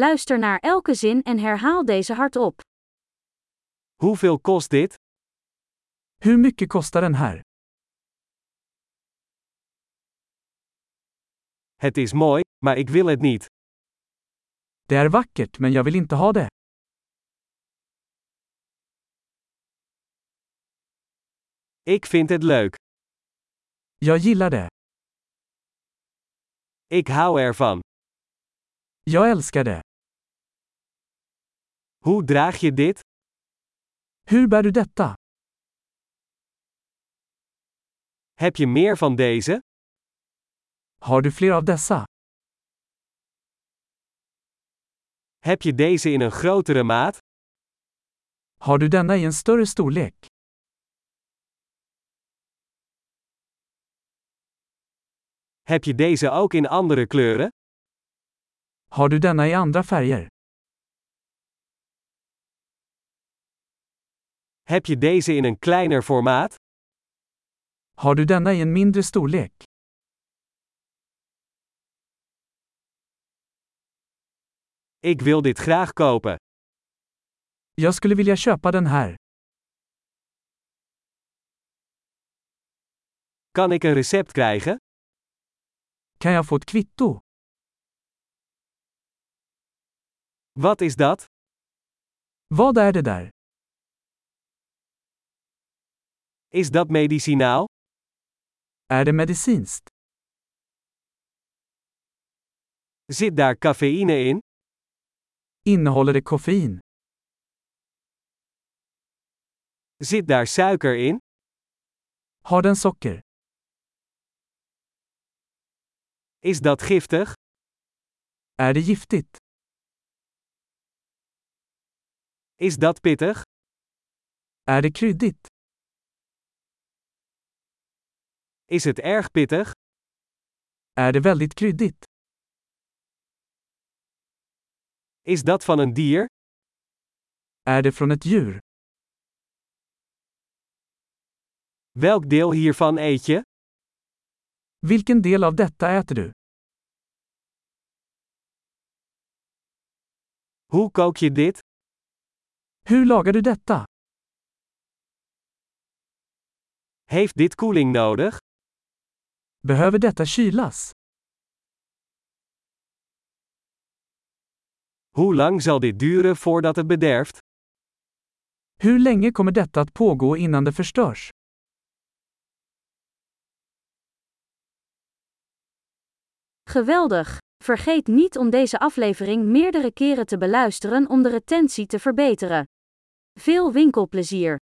Luister naar elke zin en herhaal deze hardop. Hoeveel kost dit? Hur mycket kostar den här? Het is mooi, maar ik wil het niet. Det är vackert men jag vill inte ha det. Ik vind het leuk. Jag gillar det. Ik hou ervan. Jag älskar det. Hoe draag je dit? Hur bär du detta? Heb je meer van deze? Har du fler av dessa? Heb je deze in een grotere maat? Har du denna i en större storlek? Heb je deze ook in andere kleuren? Har du denna i andra färger? Heb je deze in een kleiner formaat? Har du denna i en mindre storlek? Ik wil dit graag kopen. Jag skulle vilja köpa den här. Kan ik een recept krijgen? Kan jag få ett kvitto? Wat is dat? Vad är det där? Is dat medicinaal? Är det medicinskt? Zit daar cafeïne in? Innehåller det koffein? Zit daar suiker in? Har den socker? Is dat giftig? Är det giftigt? Is dat pittig? Är det kryddigt? Is het erg pittig? Är det väldigt kryddigt? Is dat van een dier? Är det från ett djur? Welk deel hiervan eet je? Vilken del av detta äter du? Hoe kook je dit? Hur lagar du detta? Heeft dit koeling nodig? Behöver detta kylas? Hoe lang zal dit duren voordat het bederft? Hur länge kommer detta att pågå innan det förstörs? Geweldig! Vergeet niet om deze aflevering meerdere keren te beluisteren om de retentie te verbeteren. Veel winkelplezier!